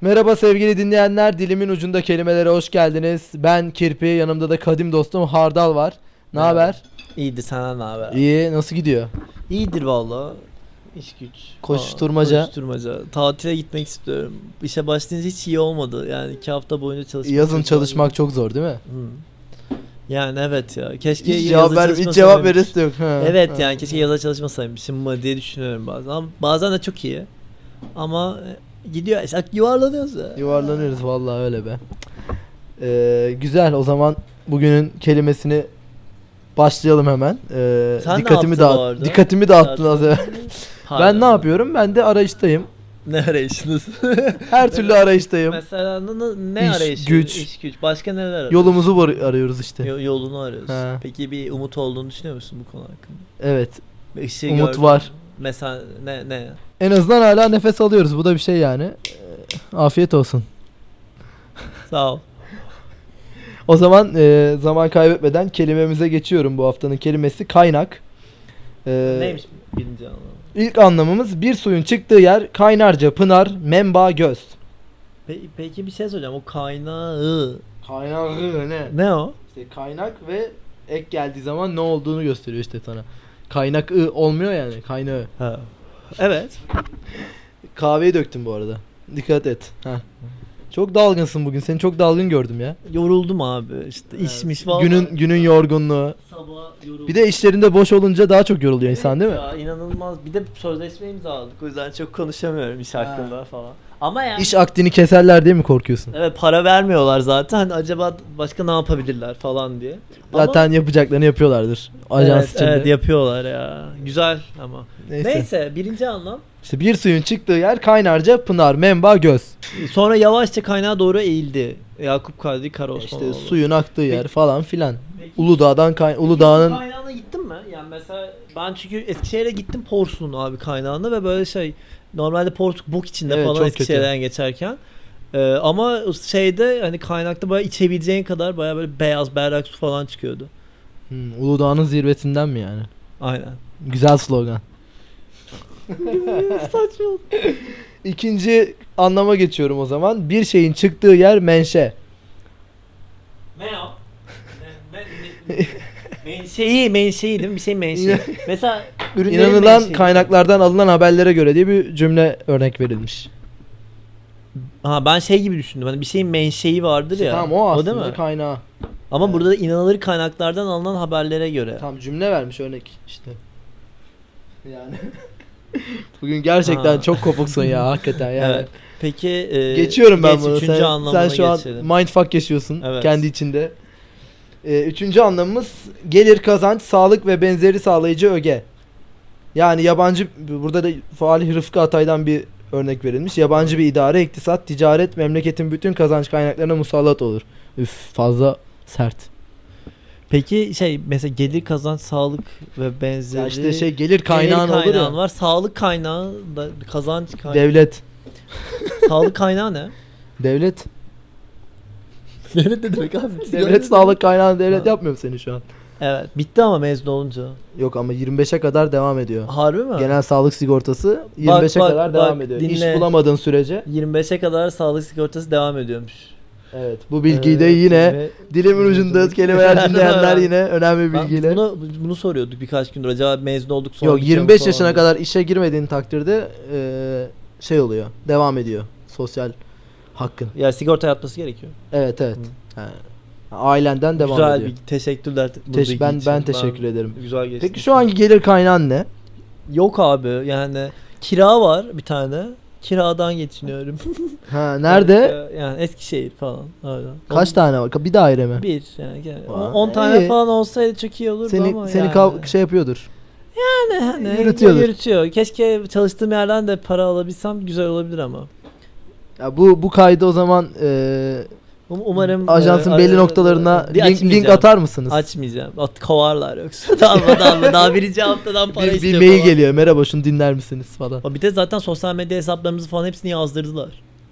Merhaba sevgili dinleyenler, dilimin ucunda kelimelere hoş geldiniz. Ben Kirpi, yanımda da kadim dostum Hardal var. Ne Merhaba. haber? İyidir senden ne haber? İyi, nasıl gidiyor? İyidir valla. İş güç. Koşturmaca. Aa, Koşturmaca. Tatile gitmek istiyorum. İşe başlayınca hiç iyi olmadı. Yani iki hafta boyunca çalışmak. Yazın çok çalışmak çok zor değil mi? zor. Hı. Yani evet ya. Keşke Hiç yazın cevap ver, hiç çalışmasaydım. cevap veresi de yok. Ha, Evet ha. yani keşke yaza çalışmasaymışım mı diye düşünüyorum bazen. Ama bazen de çok iyi. Ama e, gidiyor. işte Yuvarlanıyoruz ya. Yuvarlanıyoruz vallahi öyle be. Ee, güzel, o zaman bugünün kelimesini başlayalım hemen. Ee, Sen ne dikkatimi yaptın bu dağıt, arada? dikkatimi dağıttın az evvel. Ben ne yapıyorum? Ben de arayıştayım. Ne arayışınız? Her türlü arayıştayım. Mesela ne, İş, ne arayışı? güç. İş güç. Başka neler arıyorsun? Yolumuzu var- arıyoruz işte. Yo- Yolunu arıyorsun. He. Peki bir umut olduğunu düşünüyor musun bu konu hakkında? Evet. Bir ışığı Umut gördün mü? var. Mesela ne ne? En azından hala nefes alıyoruz. Bu da bir şey yani. Ee, Afiyet olsun. Sağ ol. O zaman e, zaman kaybetmeden kelimemize geçiyorum. Bu haftanın kelimesi kaynak. Ee, Neymiş birinci anlamı? İlk anlamımız bir suyun çıktığı yer kaynarca, pınar, menba, göz. Pe- peki bir şey soracağım. O kaynağı Kaynağı ne? ne o? İşte kaynak ve ek geldiği zaman ne olduğunu gösteriyor işte sana. Kaynak ı olmuyor yani kaynağı. Ha. Evet. Kahveyi döktüm bu arada. Dikkat et. Heh. Çok dalgınsın bugün. Seni çok dalgın gördüm ya. Yoruldum abi. İşte Evet. işmiş falan. Günün günün yorgunluğu. sabah yoruldum. Bir de işlerinde boş olunca daha çok yoruluyor insan değil mi? Ya, inanılmaz. Bir de sözleşme imzaladık. O yüzden çok konuşamıyorum iş Ha. hakkında falan. Ama yani İş akdini keserler diye mi korkuyorsun? Evet para vermiyorlar zaten. Hani acaba başka ne yapabilirler falan diye. Ama- Zaten yapacaklarını yapıyorlardır. Ajans evet, içinde. evet, yapıyorlar ya. Güzel ama. Neyse. Neyse, birinci anlam. İşte bir suyun çıktığı yer kaynarca pınar, menba, göz. Sonra yavaşça kaynağa doğru eğildi. Yakup Kadri İşte Karaosmanoğlu. suyun aktığı yer Peki- falan filan. Peki- Uludağ'dan kay Peki Uludağ'ın kaynağına gittin mi? Yani mesela ben çünkü Eskişehir'e gittim Porsun'un abi kaynağına ve böyle şey normalde Porsun bok içinde Evet, çok falan kötü. Eskişehir'den geçerken. Ee, ama şeyde hani kaynakta bayağı içebileceğin kadar bayağı böyle beyaz berrak su falan çıkıyordu. Hmm, Uludağ'ın zirvesinden mi yani? Aynen. Güzel slogan. Saçma. İkinci anlama geçiyorum o zaman. Bir şeyin çıktığı yer menşe. Ne o? Ne- ne- ne- menşei, menşei değil mi? Bir şey menşei. Mesela ürünlerin İnanılan menşei. kaynaklardan alınan haberlere göre diye bir cümle örnek verilmiş. Ha ben şey gibi düşündüm. Hani bir şeyin menşei vardır ya. Şey, tamam o aslında değil mi? kaynağı. Ama Evet. burada da inanılır kaynaklardan alınan haberlere göre. Tam cümle vermiş örnek işte. Yani. Bugün gerçekten Ha. çok kopuksun ya hakikaten yani. Evet. Peki e, Geçiyorum ben geç, bunu. Üçüncü Sen, anlamına sen şu geçelim. an mindfuck yaşıyorsun Evet. kendi içinde. Ee, üçüncü anlamımız gelir, kazanç, sağlık ve benzeri sağlayıcı öge. Yani yabancı burada da Falih Rıfkı Atay'dan bir örnek verilmiş. Yabancı bir idare, iktisat, ticaret, memleketin bütün kazanç kaynaklarına musallat olur. Üf fazla sert. Peki şey mesela gelir kazanç sağlık ve benzeri. Ya işte şey gelir kaynağın Ee, gelir olur kaynağın ya. var. Sağlık kaynağı da kazanç kaynağı. Devlet. sağlık kaynağı ne? Devlet. devlet ne demek abi? Devlet sağlık kaynağını devlet Ha. yapmıyorum seni şu an. Evet. Bitti ama mezun olunca. Yok ama 25'e kadar devam ediyor. Harbi mi? Genel sağlık sigortası 25'e Bak, bak, kadar bak, devam ediyor. İş dinle. bulamadığın sürece. 25'e kadar sağlık sigortası devam ediyormuş. Ee, Evet. Bu bilgiyi de yine ve- dilimin ucunda kelimeler dinleyenler yine önemli Ben bilgiyle. Bunu, bunu soruyorduk birkaç gündür. Acaba mezun olduk sonra Yok gideceğim 25 falan yaşına diye. kadar işe girmediğin takdirde e, şey oluyor. Devam ediyor sosyal hakkın. Ya sigorta yatması gerekiyor. Evet evet. Hı. Ha, Ailenden devam Güzel ediyor. bir teşekkürler. bu Teş- bilgi ben için. ben teşekkür ederim. Güzel geçti. Peki şu anki gelir kaynağın ne? Yok abi yani kira var bir tane. Kiradan geçiniyorum. Ha nerede? Ee, yani Eskişehir falan. Öyle. Kaç tane var? Bir daire mi? On- Bir yani. Aa, 10 tane iyi. falan olsaydı çok iyi olurdu ama Seni seni yani. kav- şey yapıyordur. Yani hani Yürütüyordur. yürütüyor. Keşke çalıştığım yerden de para alabilsem güzel olabilir ama. Ya bu bu kaydı o zaman eee, Um- Umarım ajansın e, belli e, noktalarına bir link, açmayacağım. link atar mısınız? Açmayacağım. At kovarlar yoksa. daha, daha, daha, daha birinci haftadan para bir, bir istiyor mail falan. geliyor. Merhaba şunu dinler misiniz falan. Ama Bir de zaten sosyal medya hesaplarımızı falan hepsini yazdırdılar.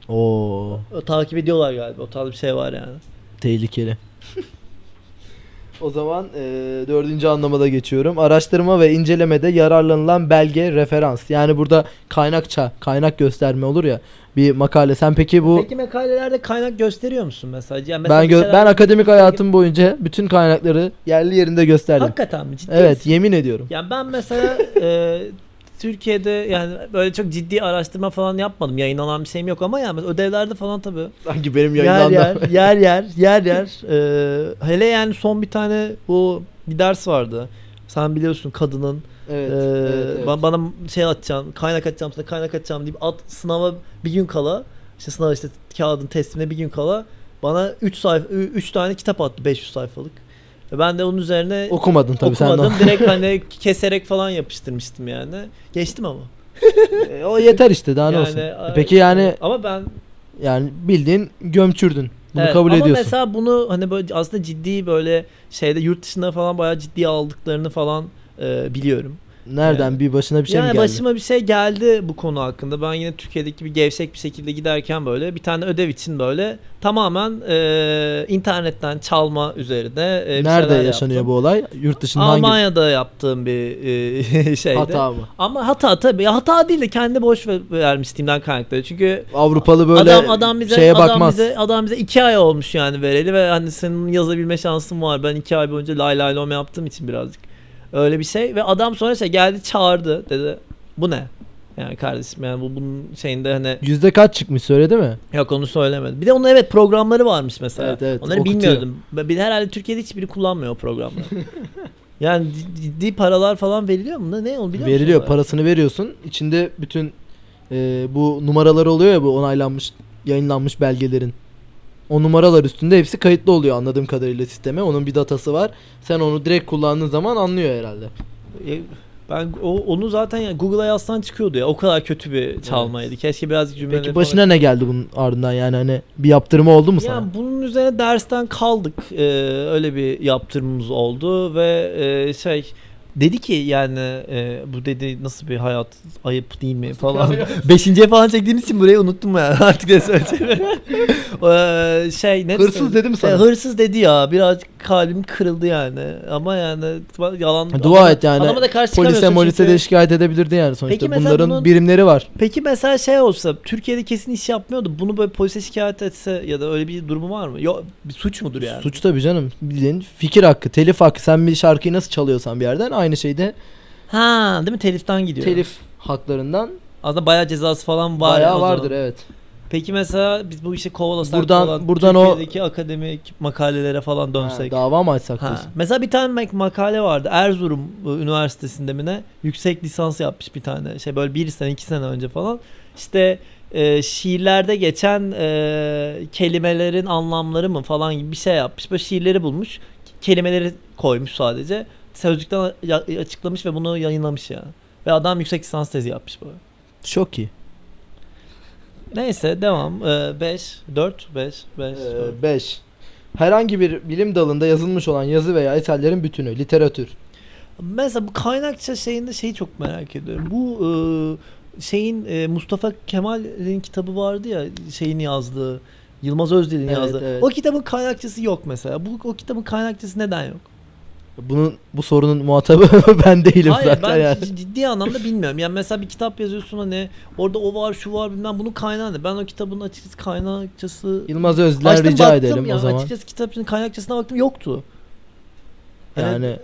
Oo O, takip ediyorlar galiba. O tarz bir şey var yani. tehlikeli. O zaman e, dördüncü anlamada geçiyorum. Araştırma ve incelemede yararlanılan belge, referans. Yani burada kaynakça, kaynak gösterme olur ya bir makale. Sen peki bu Peki makalelerde kaynak gösteriyor musun mesela? Yani mesela ben gö- mesela- ben akademik hayatım boyunca bütün kaynakları yerli yerinde gösterdim. Hakikaten mi? Ciddi Evet, misin? yemin ediyorum. Yani ben mesela e, Türkiye'de yani böyle çok ciddi araştırma falan yapmadım. Yayınlanan bir şeyim yok ama yani ödevlerde falan tabii. Sanki benim Yer yayınlandı. yer, yer yer, yer yer. e, hele yani son bir tane bu bir ders vardı. Sen biliyorsun kadının evet, e, evet, evet. ba- bana şey atacağım, kaynak atacağım sana, kaynak atacağım deyip at sınava bir gün kala, işte sınav işte kağıdın teslimine bir gün kala bana 3 sayfa 3 tane kitap attı 500 sayfalık. Ve Ben de onun üzerine Okumadın tabii sen de. Okumadım direkt hani keserek falan yapıştırmıştım yani. Geçtim ama. E, o yeter işte daha ne yani, olsun. a- Peki yani ama ben yani bildiğin gömçürdün. Bunu evet, kabul ama ediyorsun. mesela bunu hani böyle aslında ciddi böyle şeyde yurt dışında falan bayağı ciddi aldıklarını falan e, biliyorum. Nereden Yani- bir başına bir şey mi yani geldi? başıma bir şey geldi bu konu hakkında. Ben yine Türkiye'deki bir gevşek bir şekilde giderken böyle bir tane ödev için böyle tamamen e, internetten çalma üzerine e, bir Nerede şeyler yaşanıyor yaptım. bu olay? Yurt dışında hangi Almanya'da yaptığım bir e, şeydi. hata mı? Ama hata tabii. Ya Hata değil de kendi boş ver- vermişliğimden kaynaklı. Çünkü Avrupalı böyle adam adam bize şeye adam bakmaz. bize adam bize iki ay olmuş yani vereli ve hani senin yazabilme şansın var. Ben iki ay boyunca lay lay lom yaptığım için birazcık öyle bir şey ve adam sonra şey geldi çağırdı dedi bu ne? Yani kardeşim yani bu bunun şeyinde hani Yüzde kaç çıkmış söyledi mi? yok onu söylemedi. Bir de onun evet programları varmış mesela. Evet, evet, Onları okutuyor. bilmiyordum. Ben- Bir de herhalde Türkiye'de hiçbiri kullanmıyor o programları. yani ciddi paralar falan veriliyor mu? Ne onu biliyor musun? Veriliyor Ben- parasını veriyorsun. İçinde bütün e, bu numaralar oluyor ya bu onaylanmış yayınlanmış belgelerin. O numaralar üstünde hepsi kayıtlı oluyor anladığım kadarıyla sisteme. Onun bir datası var. Sen onu direkt kullandığın zaman anlıyor herhalde. E, Ben o, onu zaten ya Google'a yazsan çıkıyordu ya. O kadar kötü bir çalmaydı. Keşke birazcık cümleleri Peki falan- başına ne geldi bunun ardından yani hani bir yaptırımı oldu mu Ya sana? bunun üzerine dersten kaldık. Ee, öyle bir yaptırımımız oldu ve e, şey dedi ki yani e, bu dedi nasıl bir hayat ayıp değil mi falan. Beşinciye falan çektiğimiz için burayı unuttum ya artık ne söyleyeceğimi. Ee, şey ne Hırsız dedi mi sana? E, hırsız dedi ya birazcık kalbim kırıldı yani ama yani yalan. Dua et yani. Adama da karşı Polise çıkamıyorsun molise çünkü- de şikayet edebilirdi yani sonuçta. Peki mesela Bunların bunun- birimleri var. Peki mesela şey olsa Türkiye'de kesin iş yapmıyordu. Bunu böyle polise şikayet etse ya da öyle bir durumu var mı? Yok bir suç mudur yani? Suç tabii canım. Bildiğin fikir hakkı, telif hakkı. Sen bir şarkıyı nasıl çalıyorsan bir yerden aynı şeyde Ha, değil mi? Teliften gidiyor. telif haklarından Aslında bayağı cezası falan var. ya o bayağı zaman. vardır evet. Peki mesela biz bu işi kovalasak Buradan- falan buradan o- Türkiye'deki akademik makalelere falan Ha, dönsek. dava mı açsak Ha, diyorsun? Mesela bir tane mak- makale vardı. Erzurum e, Üniversitesi'nde mi ne? Yüksek lisans yapmış bir tane. Şey böyle bir sene iki sene önce falan. İşte e, şiirlerde geçen e, kelimelerin anlamları mı falan gibi bir şey yapmış. Böyle şiirleri bulmuş. Kelimeleri koymuş sadece. Sözlükten ya- açıklamış ve bunu yayınlamış yani. Ve adam yüksek lisans tezi yapmış böyle. Çok iyi. Neyse devam. E, 5, 4, 5, 5. E, 5. Ee, Herhangi bir bilim dalında yazılmış olan yazı veya eserlerin bütünü, literatür. Mesela bu kaynakça şeyinde şeyi çok merak ediyorum. Bu e, şeyin e, Mustafa Kemal'in kitabı vardı ya şeyini yazdığı. Yılmaz Özdil'in Evet, yazdığı. evet. O kitabın kaynakçası yok mesela. Bu o kitabın kaynakçası neden yok? Bunun bu sorunun muhatabı ben değilim Hayır zaten ben yani. c- ciddi anlamda bilmiyorum. Yani mesela bir kitap yazıyorsun hani orada o var şu var bilmem bunun kaynağı ne? Ben o kitabın açıkçası kaynakçası Yılmaz Özler Açtım, rica baktım edelim ya. o zaman. Açıkçası kitabın kaynakçasına baktım yoktu. Hani Yani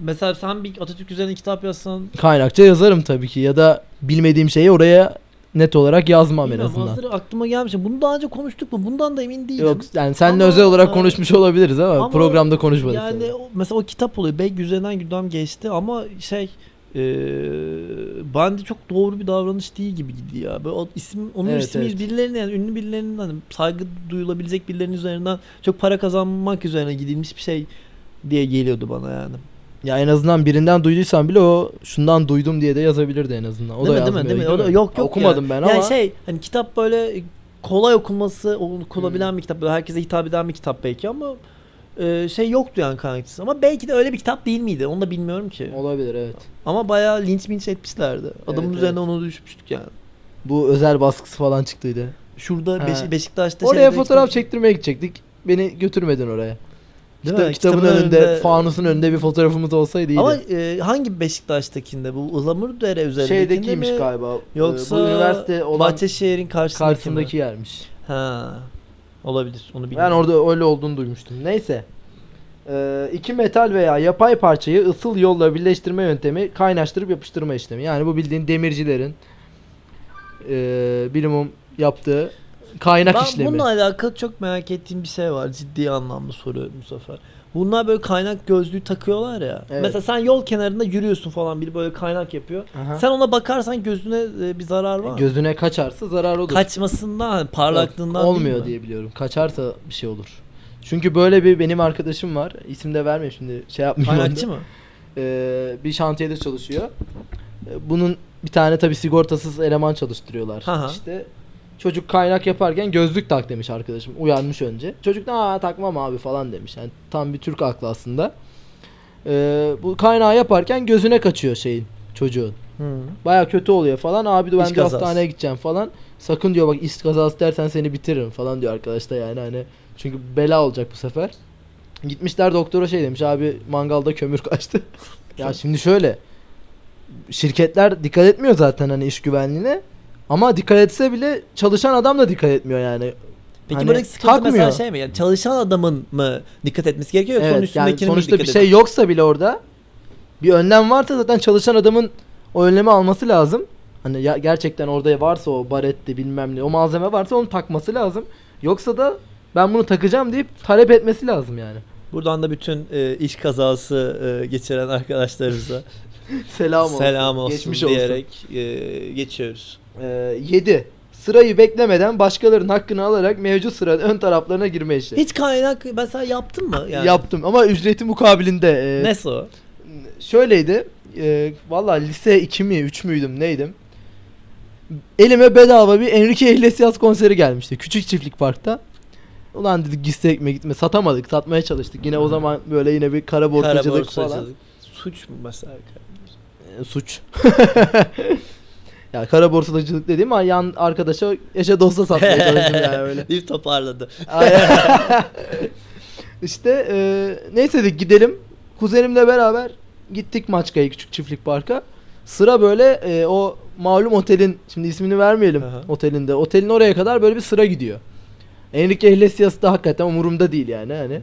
Mesela sen bir Atatürk üzerine kitap yazsan kaynakça yazarım tabii ki ya da bilmediğim şeyi oraya net olarak yazmam en Bilmiyorum, azından. hazır aklıma gelmiş. Bunu daha önce konuştuk mu? Bundan da emin değilim. Yok yani seninle Ama- özel olarak konuşmuş olabiliriz ama, Ama- programda konuşmadık. yani tabii. o- mesela o kitap oluyor. Bey üzerinden gündem geçti ama şey e, bende çok doğru bir davranış değil gibi gidiyor ya. Böyle o isim onun Evet, ismi evet. birilerinin yani ünlü birilerinin hani saygı duyulabilecek birilerinin üzerinden çok para kazanmak üzerine gidilmiş bir şey diye geliyordu bana yani. Ya en azından birinden duyduysan bile o şundan duydum diye de yazabilirdi en azından. O da değil mi, değil yazmıyor. mi, değil mi? değil O da mi? yok yok. Okumadım yani. ben Yani ama şey hani kitap böyle kolay okunması, okunabilen Hmm. bir kitap. Böyle herkese hitap eden bir kitap belki ama e, şey yoktu yani kaynakçısı. Ama belki de öyle bir kitap değil miydi? Onu da bilmiyorum ki. olabilir evet. Ama bayağı linç minç etmişlerdi. Adamın Evet, üzerine onu düşmüştük yani. Bu özel baskısı falan çıktıydı. Şurada Ha. Beşi- Beşiktaş'ta Oraya şeyde fotoğraf gitmiş- çektirmeye gidecektik. Beni götürmedin oraya. Değil Kita- mi? kitabın, önünde, fanusun önünde bir fotoğrafımız olsaydı iyiydi. Ama e, hangi Beşiktaş'takinde? Bu Ilamurdere üzerindekinde Şeydekiymiş mi? galiba. Yoksa Ee, bu üniversite olan Bahçeşehir'in karşısındaki, karşısındaki mi? yermiş. Ha. Olabilir. Onu Ben bilmiyorum. orada öyle olduğunu duymuştum. Neyse. Ee, iki metal veya yapay parçayı ısıl yolla birleştirme yöntemi kaynaştırıp yapıştırma işlemi. Yani bu bildiğin demircilerin ee, bilimum yaptığı kaynak ben işlemi. bununla alakalı çok merak ettiğim bir şey var. Ciddi anlamda soruyorum bu sefer. Bunlar böyle kaynak gözlüğü takıyorlar ya. Evet. Mesela sen yol kenarında yürüyorsun falan biri böyle kaynak yapıyor. Aha. Sen ona bakarsan gözüne e, bir zarar var mı? Gözüne kaçarsa zarar olur. Kaçmasından, hani parlaklığından Yok, olmuyor değil mi? diye biliyorum. Kaçarsa bir şey olur. Çünkü böyle bir benim arkadaşım var. İsim de vermeyeyim şimdi şey yapmayayım. onu da. Kaynakçı mı? Ee, bir şantiyede çalışıyor. Ee, Bunun bir tane tabii sigortasız eleman çalıştırıyorlar. Hı hı. İşte çocuk kaynak yaparken gözlük tak demiş arkadaşım. Uyanmış önce. Çocuk da "Aa, takmam abi falan demiş. Yani tam bir Türk aklı aslında. Ee, bu kaynağı yaparken gözüne kaçıyor şeyin çocuğun. Hı. Baya kötü oluyor falan. Abi diyor ben İş de kazası. hastaneye gideceğim falan. Sakın diyor bak iş kazası dersen seni bitiririm falan diyor arkadaş da yani hani. Çünkü bela olacak bu sefer. Gitmişler doktora şey demiş abi mangalda kömür kaçtı. ya şimdi şöyle. Şirketler dikkat etmiyor zaten hani iş güvenliğine. Ama dikkat etse bile çalışan adam da dikkat etmiyor yani. Peki Hani buradaki sıkıntı mesela takmıyor. şey mi? Yani çalışan adamın mı dikkat etmesi gerekiyor yoksa onun evet yani üstündekinin mi sonuçta dikkat bir şey yoksa bile orada bir önlem varsa zaten çalışan adamın o önlemi alması lazım. Hani ya, gerçekten orada varsa o baretti bilmem ne o malzeme varsa onu takması lazım. Yoksa da ben bunu takacağım deyip talep etmesi lazım yani. Buradan da bütün e, iş kazası e, geçiren arkadaşlarımıza Selam olsun. selam olsun Geçmiş diyerek e, geçiyoruz. Olsun. 7. Sırayı beklemeden başkalarının hakkını alarak mevcut sıranın ön taraflarına girme işi. Hiç kaynak mesela yaptın mı? Yani? Yaptım ama ücreti mukabilinde. e, Nasıl o? şöyleydi. E, Valla lise 2 mi 3 müydüm neydim. Elime bedava bir Enrique Iglesias konseri gelmişti. Küçük çiftlik parkta. Ulan dedik gitsek mi gitme satamadık satmaya çalıştık. Yine o Hı. zaman böyle yine bir kara borsacılık, falan. Kara borsacılık. Suç mu mesela? E, suç. ya kara borsacılık dediğim an yan arkadaşa eşe dosta satmaya çalıştım yani öyle. Bir toparladı. işte e, neyse dedik gidelim. Kuzenimle beraber gittik Maçka'ya küçük çiftlik parka. Sıra böyle e, o malum otelin şimdi ismini vermeyelim Aha. otelinde. Otelin oraya kadar böyle bir sıra gidiyor. Enrique Iglesias da hakikaten umurumda değil yani hani.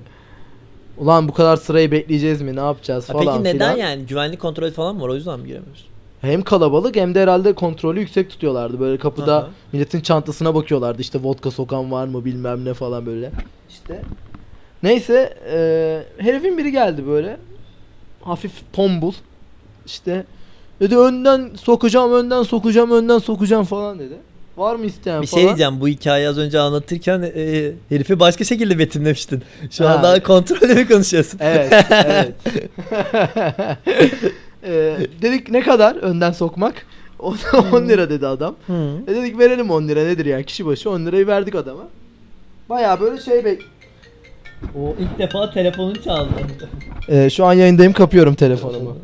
Ulan bu kadar sırayı bekleyeceğiz mi? Ne yapacağız Ha, falan peki neden filan. yani? Güvenlik kontrolü falan mı var? O yüzden mi giremiyoruz? Hem kalabalık hem de herhalde kontrolü yüksek tutuyorlardı. Böyle kapıda Aha. milletin çantasına bakıyorlardı. İşte vodka sokan var mı bilmem ne falan böyle. İşte. Neyse e, herifin biri geldi böyle. Hafif tombul. İşte dedi önden sokacağım, önden sokacağım, önden sokacağım falan dedi. Var mı isteyen Bir falan? şey diyeceğim bu hikayeyi az önce anlatırken e, herifi başka şekilde betimlemiştin. Ha. Şu an daha kontrollü mü konuşuyorsun? Evet, evet. E, dedik ne kadar önden sokmak? 10 lira dedi adam. Hı. E dedik verelim 10 lira nedir yani kişi başı 10 lirayı verdik adama. Baya böyle şey bek... O ilk defa telefonun çaldı. Ee, şu an yayındayım kapıyorum telefonumu.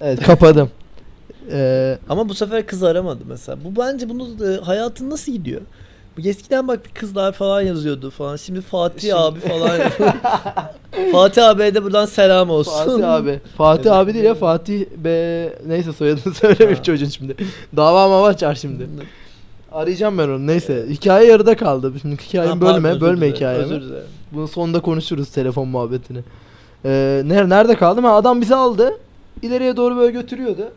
Evet kapadım. Ee, Ama bu sefer kız aramadı mesela. Bu bence bunu e, hayatın nasıl gidiyor? Bu Eskiden bak bir kızlar falan yazıyordu falan. Şimdi Fatih Şimdi- abi falan yazıyor. Fatih abiye de buradan selam olsun. Fatih abi. Fatih Evet. abi değil ya Fatih be neyse soyadını söylemeyeyim Ha. çocuğun şimdi. Dava mava açar şimdi. Arayacağım ben onu neyse. Hikaye yarıda kaldı. Şimdi hikayemi Ha, pardon, bölme özür bölme dilerim, hikayemi. özür dilerim. Bunu sonda konuşuruz telefon muhabbetini. Ee, ner- nerede kaldım? Ha, adam bizi aldı. İleriye doğru böyle götürüyordu.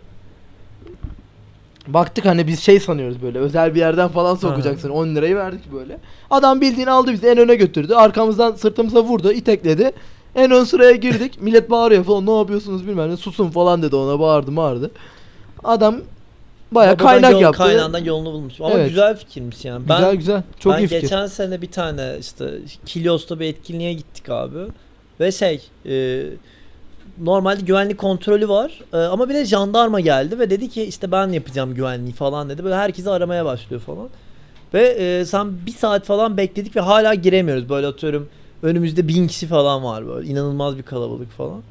Baktık hani biz şey sanıyoruz böyle özel bir yerden falan sokacaksın. 10 lirayı verdik böyle. Adam bildiğini aldı bizi en öne götürdü. Arkamızdan sırtımıza vurdu, itekledi. En ön sıraya girdik. Millet bağırıyor falan. Ne yapıyorsunuz bilmem ne. Susun falan dedi ona bağırdı bağırdı. Adam baya Ama buradan kaynak yol- yaptı. Kaynağından yolunu bulmuş. Ama Evet. güzel fikirmiş yani. Ben, güzel güzel. Çok ben iyi fikir. geçen sene bir tane işte Kilios'ta bir etkinliğe gittik abi. Ve şey e, normalde güvenlik kontrolü var E, ama bir de jandarma geldi ve dedi ki işte ben yapacağım güvenliği falan dedi. Böyle herkesi aramaya başlıyor falan. Ve e, sen bir saat falan bekledik ve hala giremiyoruz. Böyle atıyorum önümüzde bin kişi falan var böyle inanılmaz bir kalabalık falan.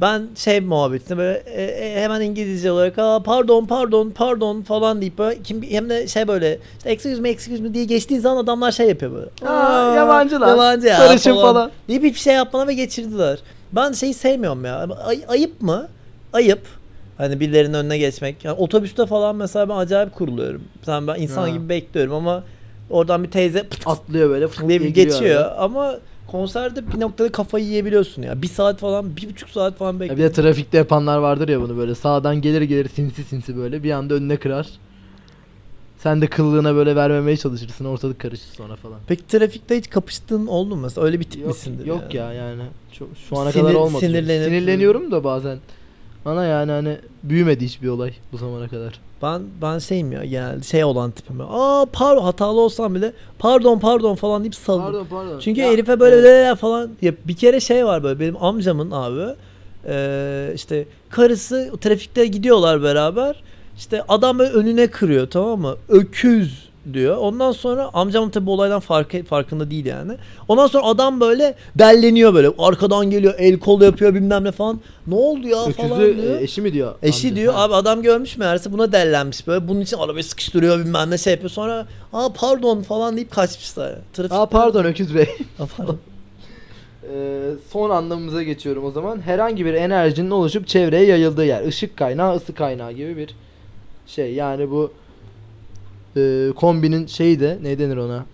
Ben şey muhabbetinde böyle e, e, hemen İngilizce olarak Aa, pardon pardon pardon falan deyip böyle kim hem de şey böyle işte excuse me excuse me diye geçtiğin zaman adamlar şey yapıyor böyle. Aa, yabancılar, Yabancı ya sarışın falan. Deyip hiçbir şey yapmana ve geçirdiler. Ben şeyi sevmiyorum ya. Ay- ayıp mı? Ayıp. Hani birilerinin önüne geçmek. Yani otobüste falan mesela ben acayip kuruluyorum. Sen ben insan Ha. gibi bekliyorum ama oradan bir teyze pıt Atlıyor böyle fıt diye diye giriyor geçiyor arada. ama konserde bir noktada kafayı yiyebiliyorsun ya. Bir saat falan, bir buçuk saat falan Ya bekliyorsun. bir de trafikte yapanlar vardır ya bunu böyle sağdan gelir gelir sinsi sinsi böyle bir anda önüne kırar. Sen de kıllığına böyle vermemeye çalışırsın ortalık karışır sonra falan. Peki trafikte hiç kapıştığın oldu mu mesela? Öyle bir tip Yok, misindir yok yani? ya yani çok, şu ana Sinir- kadar olmadı. sinirlenip- Sinirleniyorum da bazen. Bana yani hani büyümedi hiçbir olay bu zamana kadar. Ben ben şeyim ya genelde şey olan tipim. ya. Aa pardon hatalı olsam bile pardon pardon falan deyip salırım. pardon. Çünkü herife böyle "Ee" falan ya bir kere şey var böyle benim amcamın abi eee, işte karısı trafikte gidiyorlar beraber işte adam böyle önüne kırıyor tamam mı öküz diyor. Ondan sonra amcam tabi bu olaydan fark, farkında değil yani. Ondan sonra adam böyle belleniyor böyle arkadan geliyor el kol yapıyor bilmem ne falan. Ne oldu ya falan Öküzü diyor. e, eşi mi diyor? Eşi amca? diyor Ha. abi adam görmüş meğerse buna dellenmiş böyle. Bunun için arabayı sıkıştırıyor bilmem ne şey yapıyor. Sonra aa pardon falan deyip kaçmışlar. Trafik Aa pardon Öküz Bey. Aa, pardon. Ee, son anlamımıza geçiyorum o zaman. Herhangi bir enerjinin oluşup çevreye yayıldığı yer. Işık kaynağı, ısı kaynağı gibi bir şey. Yani bu e, kombinin şeyi de ne denir ona?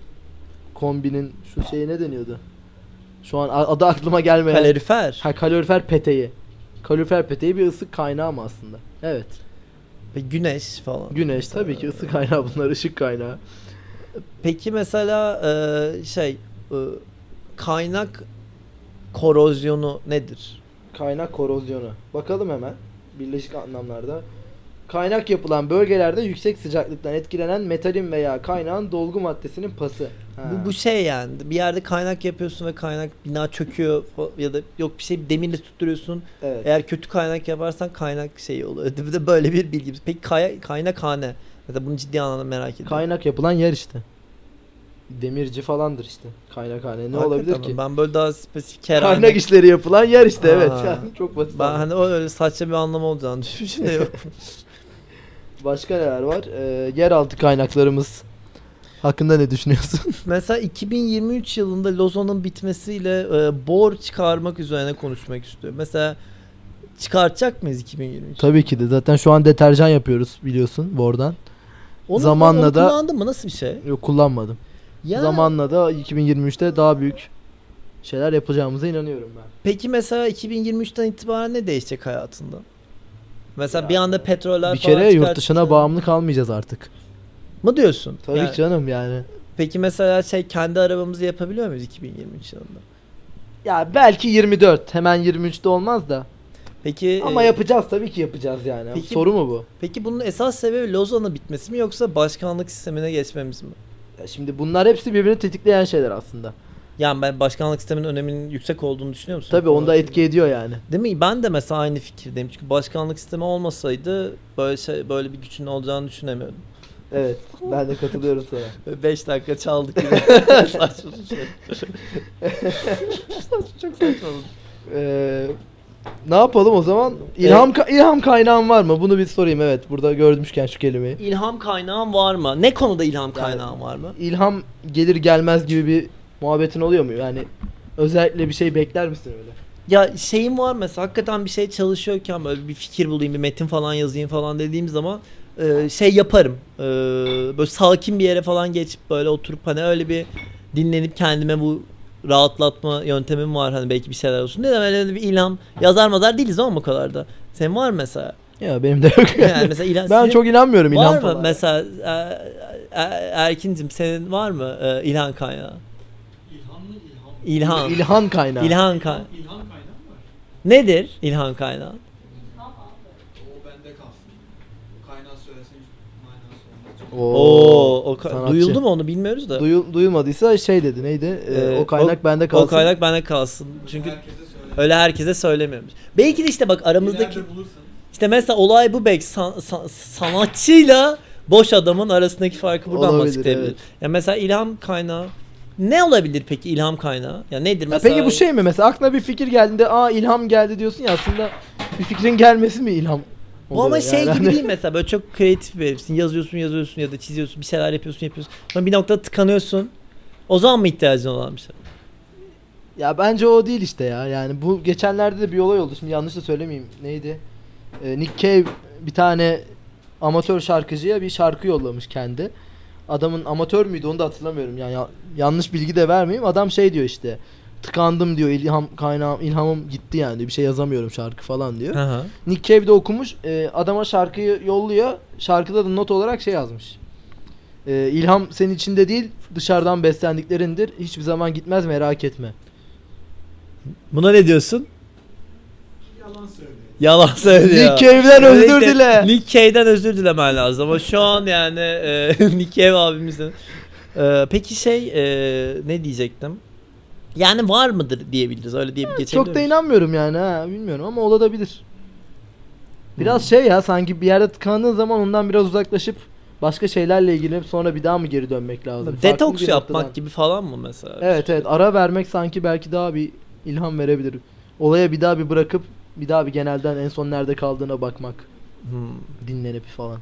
Kombinin şu şeyi ne deniyordu? Şu an a- adı aklıma gelmeyen. Kalorifer. Ha, kalorifer peteği. Kalorifer peteği bir ısı kaynağı mı aslında? Evet. Ve Güneş falan. Güneş tabii ki ısı kaynağı bunlar ışık kaynağı. Peki mesela e, şey e, kaynak korozyonu nedir? Kaynak korozyonu. Bakalım hemen. Birleşik anlamlarda. Kaynak yapılan bölgelerde yüksek sıcaklıktan etkilenen metalin veya kaynağın dolgu maddesinin pası. Ha. Bu, bu şey yani bir yerde kaynak yapıyorsun ve kaynak bina çöküyor fa- ya da yok bir şey demirle tutturuyorsun. evet. Eğer kötü kaynak yaparsan kaynak şeyi oluyor. Bir de böyle bir bilgimiz. Peki kay, kaynakhane. Mesela bunu ciddi anlamda merak ediyorum. Kaynak yapılan yer işte. Demirci falandır işte. Kaynakhane ne Hakikaten olabilir mi? ki? Ben böyle daha spesifik kerane. Kaynak işleri yapılan yer işte evet. Aa. Yani çok basit. Ben anlam. hani öyle saçma bir anlamı olacağını düşünmüşüm de yok. Başka neler var? Ee, yeraltı kaynaklarımız hakkında ne düşünüyorsun? Mesela 2023 yılında Lozan'ın bitmesiyle e, bor çıkarmak üzerine konuşmak istiyorum. Mesela çıkartacak mıyız 2023? Tabii ki de zaten şu an deterjan yapıyoruz biliyorsun bordan. zamanla onu da- kullandın mı? Nasıl bir şey? Yok kullanmadım. Ya, Zamanla da 2023'te daha büyük şeyler yapacağımıza inanıyorum ben. Peki mesela 2023'ten itibaren ne değişecek hayatında? Mesela Ya, bir anda petroller bir falan kere yurt çıkartıldı dışına bağımlı kalmayacağız artık. mı diyorsun? Tabii Yani canım yani. Peki mesela şey kendi arabamızı yapabiliyor muyuz 2023 yılında? Ya belki 24. Hemen 23'te olmaz da. Peki Ama e, yapacağız tabii ki yapacağız yani. Peki- Soru mu bu? peki bunun esas sebebi Lozan'ın bitmesi mi yoksa başkanlık sistemine geçmemiz mi? Ya şimdi bunlar hepsi birbirini tetikleyen şeyler aslında. Yani ben başkanlık sisteminin öneminin yüksek olduğunu düşünüyor musun? Tabii onda etki ediyor yani. Değil mi? Ben de mesela aynı fikirdeyim. Çünkü başkanlık sistemi olmasaydı böyle şey, böyle bir gücün olacağını düşünemiyordum. Evet. Ben de katılıyorum sana. 5 dakika çaldık gibi. saçma bir şey. Saçma, çok saçma oldu. Ee, ne yapalım o zaman? İlham ka- ilham kaynağın var mı? Bunu bir sorayım evet. Burada görmüşken şu kelimeyi. İlham kaynağın var mı? Ne konuda ilham kaynağın var mı? İlham gelir gelmez gibi bir muhabbetin oluyor mu? Yani özellikle bir şey bekler misin öyle? Ya şeyim var mesela hakikaten bir şey çalışıyorken böyle bir fikir bulayım, bir metin falan yazayım falan dediğim zaman e, şey yaparım. E, böyle sakin bir yere falan geçip böyle oturup hani öyle bir dinlenip kendime bu rahatlatma yöntemim var hani belki bir şeyler olsun. Dedim öyle bir ilham yazar mazar değiliz ama o kadar da. Senin var mı mesela? Ya benim de yok. Yani mesela ilham ben sizin çok inanmıyorum ilham var mı? falan. Mesela e, e, Erkin'cim senin var mı e, ilham kaynağı? İlham mı ilham? İlham. İlham, İlhan kaynağı. kaynağı. İlham kaynağı mı var? Nedir ilham kaynağı? O bende kalsın. O kaynağı söylesen hiç manası olmaz. Çok- Oo, o ka- sanatçı. duyuldu mu onu bilmiyoruz da. Duyul- duyulmadıysa şey dedi neydi? Ee, Ee, o kaynak o- bende kalsın. O kaynak bende kalsın. Çünkü herkese söyle. öyle herkese söylemiyormuş. Belki de işte bak aramızdaki İleride bulursanız. işte mesela olay bu belki san- san- sanatçıyla boş adamın arasındaki farkı buradan Olabilir, bahsedebilir. evet. Ya mesela ilham kaynağı Ne olabilir peki ilham kaynağı? Ya nedir Ya mesela? peki bu şey mi mesela aklına bir fikir geldiğinde aa ilham geldi diyorsun ya aslında bir fikrin gelmesi mi ilham? Bu ama oluyor şey yani? gibi değil mesela böyle çok kreatif bir herifsin. Yazıyorsun yazıyorsun ya da çiziyorsun bir şeyler yapıyorsun yapıyorsun. Sonra bir noktada tıkanıyorsun. O zaman mı ihtiyacın olan bir şey? Ya bence o değil işte ya. Yani bu geçenlerde de bir olay oldu. Şimdi yanlış da söylemeyeyim. Neydi? Ee, Nick Cave bir tane amatör şarkıcıya bir şarkı yollamış kendi. Adamın amatör müydü onu da hatırlamıyorum. Yani ya- yanlış bilgi de vermeyeyim. Adam şey diyor işte. Tıkandım diyor. ilham kaynağım, ilhamım gitti yani. diyor, Bir şey yazamıyorum şarkı falan diyor. Hı hı. Nick Cave de okumuş. e, adama şarkıyı yolluyor. Şarkıda da not olarak şey yazmış. E, ilham senin içinde değil dışarıdan beslendiklerindir. Hiçbir zaman gitmez merak etme. Buna ne diyorsun? Yalan söylüyor. Yalan söylüyor. Nick Cave'den özür Özellikle dile. Nick Cave'den özür dilemen lazım ama şu an yani e, Nick Cave abimizin. E, peki şey e, ne diyecektim? Yani var mıdır diyebiliriz öyle diye bir geçebilir Çok da miyiz? inanmıyorum yani ha bilmiyorum ama olabilir. Hmm. Biraz şey ya sanki bir yerde tıkandığın zaman ondan biraz uzaklaşıp başka şeylerle ilgilenip sonra bir daha mı geri dönmek lazım? Farklı Detoks bir yapmak noktadan. gibi şey. falan mı mesela? Evet evet ara vermek sanki belki daha bir ilham verebilir. Olaya bir daha bir bırakıp bir daha bir genelden en son nerede kaldığına bakmak, Hmm. dinlenip falan.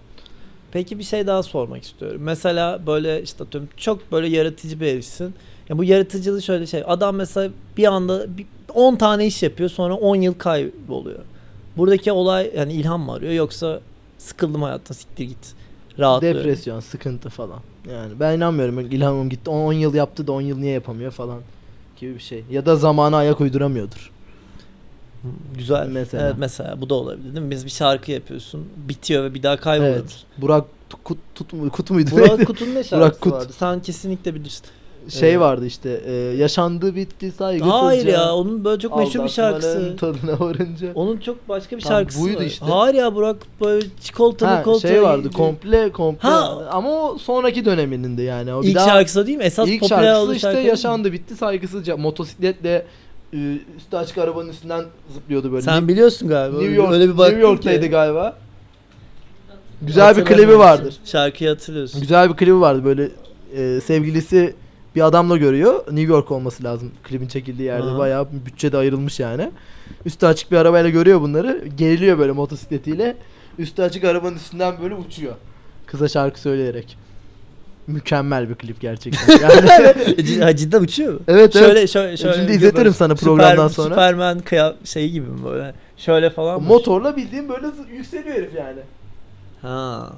Peki bir şey daha sormak istiyorum. Mesela böyle işte atıyorum çok böyle yaratıcı bir herifsin. Ya bu yaratıcılığı şöyle şey. Adam mesela bir anda bir- 10 tane iş yapıyor sonra 10 yıl kayboluyor. Buradaki olay yani ilham mı arıyor yoksa sıkıldım hayattan siktir git. Rahatlıyor. Depresyon, sıkıntı falan. Yani ben inanmıyorum. Bak İlhamım gitti. 10 yıl yaptı da 10 yıl niye yapamıyor falan gibi bir şey. Ya da zamana ayak uyduramıyordur. Hı, Güzel. Mesela. Mesela. Evet mesela bu da olabilir değil mi? Biz bir şarkı yapıyorsun bitiyor ve bir daha kayboluyoruz. Burak Tu- Kut, tut, mu- Kut muydu? Burak Kut'un ne şarkısı Kut. vardı? Sen kesinlikle bilirsin. şey Evet. vardı işte. e, yaşandı bitti saygısızca. Hayır ya onun böyle çok meşhur bir Aldatmanın şarkısı. Tadına varınca. Onun çok başka bir Tam şarkısı buydu var. işte. Hayır ya Burak böyle çikolatalı Ha, koltuğa şey vardı giydi. komple komple Ha! ama o sonraki döneminindi yani. O bir İlk daha- şarkısı o değil mi? Esas İlk popüler şarkısı olduğu işte şarkı değil mi? yaşandı bitti saygısızca motosikletle e, üstü açık arabanın üstünden zıplıyordu böyle. Sen biliyorsun galiba. New York, Öyle bir baktın New York'taydı ki. galiba. Güzel bir klibi Hatırlamıyorum. vardır. Şarkıyı hatırlıyorsun. Güzel bir klibi vardı böyle e, sevgilisi bir adamla görüyor. New York olması lazım klibin çekildiği yerde. Aha. Bayağı bütçede ayrılmış yani. Üstü açık bir arabayla görüyor bunları. Geriliyor böyle motosikletiyle. Üstü açık arabanın üstünden böyle uçuyor. Kıza şarkı söyleyerek. Mükemmel bir klip gerçekten. Yani, E, Cid- ha, Cidden uçuyor mu? evet evet. Şöyle şöyle şöyle. Şimdi bir izletirim böyle sana Süper- programdan sonra. Superman kıya şeyi gibi mi böyle? Şöyle falan mı? Motorla bildiğin böyle zı- yükseliyor herif yani. Ha.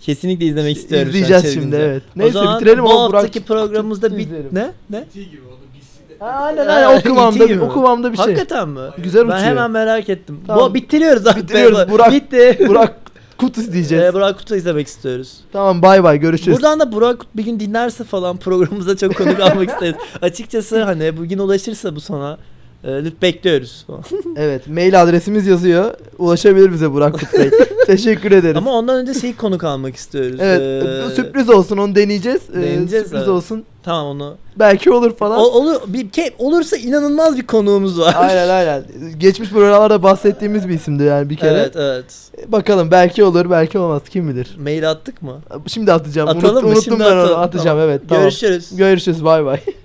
Kesinlikle izlemek İşte istiyorum. şu an İzleyeceğiz çevirince. şimdi evet. O Neyse zaman bitirelim bu ama Burak haftaki tut- programımızda tut- bir... izleyelim. Ne? Ne? T gibi o da BC de. Aynen aynen o Ha, kıvamda, itiyor bir- gibi. o kıvamda bir şey. E, Hakikaten mi? Güzel Ben uçuyor. hemen merak ettim. Tamam. Bu bitiriyoruz artık. Bitiriyoruz. Burak- Bitti. Burak Kut izleyeceğiz. Ee, Burak Kut'u izlemek istiyoruz. tamam bay bay görüşürüz. Buradan da Burak Kut bir gün dinlerse falan programımıza çok konuk almak isteriz. Açıkçası hani bugün ulaşırsa bu sana e, lütfen bekliyoruz. falan. Evet mail adresimiz yazıyor. Ulaşabilir bize Burak Kut Bey. Teşekkür ederiz. Ama ondan önce şeyi konuk almak istiyoruz. evet Ee, sürpriz olsun onu deneyeceğiz. Ee, deneyeceğiz, sürpriz evet. olsun. Tamam onu. Belki olur falan. O- olur, bir, ke- olursa inanılmaz bir konuğumuz var. aynen aynen. Geçmiş programlarda bahsettiğimiz bir isimdi yani bir kere. Evet evet. Bakalım belki olur belki olmaz kim bilir. Mail attık mı? Şimdi atacağım. Atalım Unut- mı? unuttum Şimdi ben onu. atalım. Atacağım Tamam. evet. Tamam. Görüşürüz. Görüşürüz bay bay.